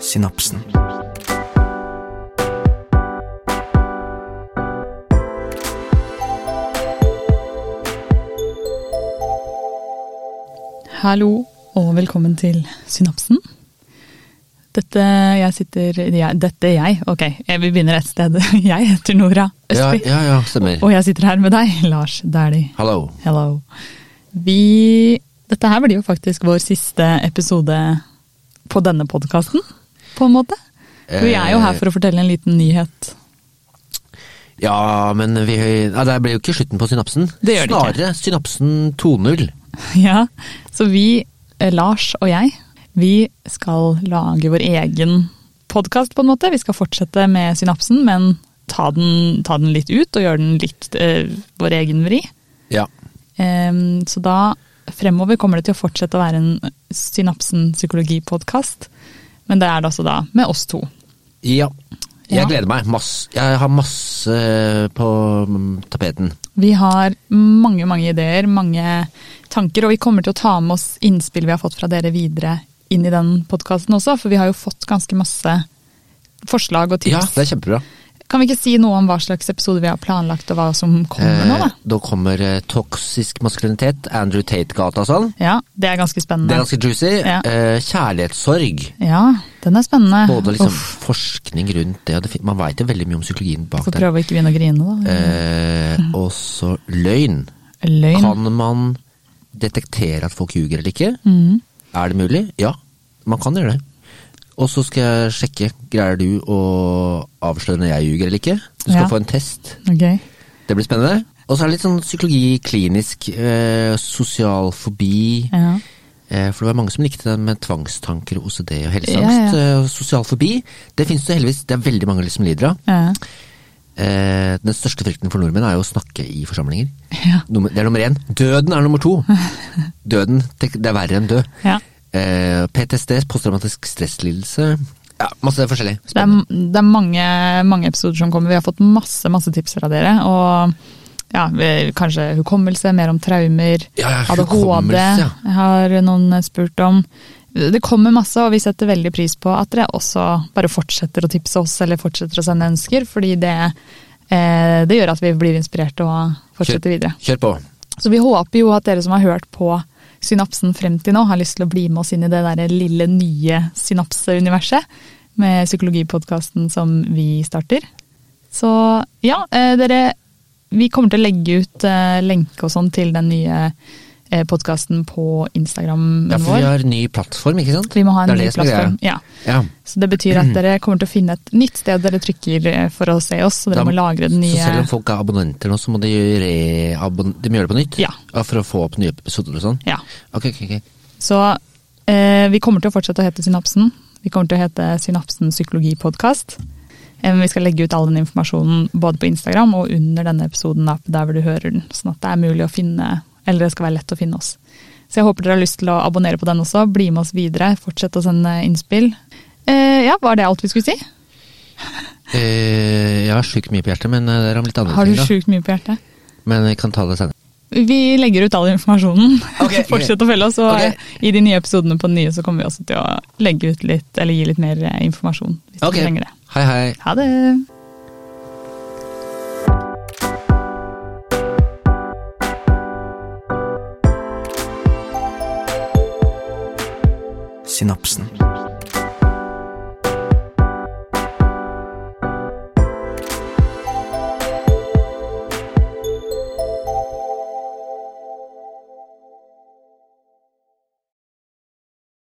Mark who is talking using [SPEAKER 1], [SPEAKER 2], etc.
[SPEAKER 1] synapsen.
[SPEAKER 2] Hallo, og velkommen til Synapsen. Dette jeg sitter jeg, Dette jeg, ok, jeg, vi begynner et sted. Jeg heter Nora
[SPEAKER 3] Ja,
[SPEAKER 2] Østby,
[SPEAKER 3] ja, ja, stemmer.
[SPEAKER 2] og jeg sitter her med deg, Lars Dæhlie.
[SPEAKER 3] Hallo.
[SPEAKER 2] Hello. Vi Dette her blir jo faktisk vår siste episode på denne podkasten, på en måte. For vi er jo her for å fortelle en liten nyhet.
[SPEAKER 3] Ja, men vi, ja, det ble jo ikke slutten på synapsen.
[SPEAKER 2] Det gjør det ikke.
[SPEAKER 3] Snarere synapsen 2.0.
[SPEAKER 2] Ja, Så vi, eh, Lars og jeg, vi skal lage vår egen podkast, på en måte. Vi skal fortsette med synapsen, men ta den, ta den litt ut og gjøre den litt eh, vår egen vri.
[SPEAKER 3] Ja.
[SPEAKER 2] Ehm, så da fremover kommer det til å fortsette å være en synapsen psykologipodkast, men det er det altså da med oss to.
[SPEAKER 3] Ja.
[SPEAKER 2] Ja.
[SPEAKER 3] Jeg gleder meg. Mass, jeg har masse på mm, tapeten.
[SPEAKER 2] Vi har mange, mange ideer, mange tanker, og vi kommer til å ta med oss innspill vi har fått fra dere videre inn i den podkasten også, for vi har jo fått ganske masse forslag og
[SPEAKER 3] Ja,
[SPEAKER 2] tips.
[SPEAKER 3] det er kjempebra.
[SPEAKER 2] Kan vi ikke si noe om hva slags episode vi har planlagt, og hva som kommer nå,
[SPEAKER 3] Eh,
[SPEAKER 2] da?
[SPEAKER 3] da kommer eh, Toksisk maskulinitet, Andrew Tate-gata og sånn.
[SPEAKER 2] Ja, det er ganske spennende.
[SPEAKER 3] Det er ganske juicy.
[SPEAKER 2] Ja.
[SPEAKER 3] Eh, kjærlighetssorg.
[SPEAKER 2] Ja, den er spennende.
[SPEAKER 3] Både liksom
[SPEAKER 2] Uff,
[SPEAKER 3] forskning rundt det, og det, fin- man veit jo veldig mye om psykologien bak
[SPEAKER 2] Får
[SPEAKER 3] der.
[SPEAKER 2] prøve å ikke begynne å grine, da.
[SPEAKER 3] Eh,
[SPEAKER 2] Mm.
[SPEAKER 3] og så løgn.
[SPEAKER 2] Løgn.
[SPEAKER 3] Eh, Kan man detektere at folk ljuger eller ikke?
[SPEAKER 2] Mm.
[SPEAKER 3] Er det mulig? Ja, man kan gjøre det. Og så skal jeg sjekke, greier du å avsløre når jeg ljuger eller ikke? Du skal
[SPEAKER 2] Ja.
[SPEAKER 3] få en test.
[SPEAKER 2] Ok.
[SPEAKER 3] Det blir spennende. Og så er det litt sånn psykologi, klinisk, eh, sosial fobi.
[SPEAKER 2] Ja.
[SPEAKER 3] Eh, for det var mange som likte den med tvangstanker, OCD og helseangst.
[SPEAKER 2] Ja,
[SPEAKER 3] Eh, sosial fobi, det finnes det heldigvis. Det er veldig mange som lider av.
[SPEAKER 2] Ja.
[SPEAKER 3] Eh, den største frykten for nordmenn er jo å snakke i forsamlinger.
[SPEAKER 2] Ja.
[SPEAKER 3] Nummer, det er nummer én. Døden er nummer to. Døden, tenk, det er verre enn død.
[SPEAKER 2] Ja.
[SPEAKER 3] Eh, PTSD, posttraumatisk stresslidelse. Ja, masse forskjellig.
[SPEAKER 2] Det er, det er mange, mange episoder som kommer. Vi har fått masse masse tips fra dere. Og ja, vi- kanskje hukommelse, mer om traumer,
[SPEAKER 3] Ja, ja,
[SPEAKER 2] ADHD
[SPEAKER 3] hukommelse, ja.
[SPEAKER 2] har noen spurt om. Det kommer masse, og vi setter veldig pris på at dere også bare fortsetter å tipse oss eller fortsetter å sende ønsker, fordi det, eh, det gjør at vi blir inspirert og fortsetter videre.
[SPEAKER 3] Kjør på.
[SPEAKER 2] Så vi håper jo at dere som har hørt på Synapsen frem til nå, har lyst til å bli med oss inn i det der lille nye synapseuniverset med psykologipodkasten som vi starter. Så ja, eh, dere Vi kommer til å legge ut eh, lenke og sånn til den nye eh, podkasten på Instagram
[SPEAKER 3] Ja, for vi
[SPEAKER 2] vår.
[SPEAKER 3] har ny plattform, ikke sant?
[SPEAKER 2] Vi må ha en
[SPEAKER 3] Det er
[SPEAKER 2] ny
[SPEAKER 3] det som er
[SPEAKER 2] plattform.
[SPEAKER 3] greia.
[SPEAKER 2] Ja.
[SPEAKER 3] Ja.
[SPEAKER 2] Så det betyr at dere kommer til å finne et nytt sted dere trykker eh, for å se oss, så dere
[SPEAKER 3] Da-
[SPEAKER 2] må lagre den nye
[SPEAKER 3] Så selv om folk er abonnenter nå, så må de, reabon de må gjøre det på nytt?
[SPEAKER 2] Ja.
[SPEAKER 3] For å få opp nye episoder og sånn?
[SPEAKER 2] Ja.
[SPEAKER 3] Ok, ok, ok.
[SPEAKER 2] Så eh, vi kommer til å fortsette å hete Synapsen. Vi kommer til å hete Synapsen psykologipodkast. Eh, vi skal legge ut all den informasjonen både på Instagram og under denne episoden da, der hvor du hører den, sånn at det er mulig å finne, eller det skal være lett å finne oss. Så jeg håper dere har lyst til å abonnere på den også. Bli med oss videre. Fortsett å sende innspill. Eh, ja, var det alt vi skulle si?
[SPEAKER 3] Eh, jeg har sjukt mye på hjertet, men eh, det er om litt andre
[SPEAKER 2] Har du
[SPEAKER 3] ting.
[SPEAKER 2] sjukt mye på hjertet?
[SPEAKER 3] da. Men vi kan ta det senere.
[SPEAKER 2] Vi legger ut all informasjonen.
[SPEAKER 3] Ok.
[SPEAKER 2] Fortsett å følge oss. Og
[SPEAKER 3] Ok.
[SPEAKER 2] i de nye episodene på den nye så kommer vi også til å legge ut litt, eller gi litt mer eh, informasjon. Hvis
[SPEAKER 3] Ok.
[SPEAKER 2] du trenger det.
[SPEAKER 3] Hei, hei.
[SPEAKER 2] Ha det!
[SPEAKER 1] Synapsen.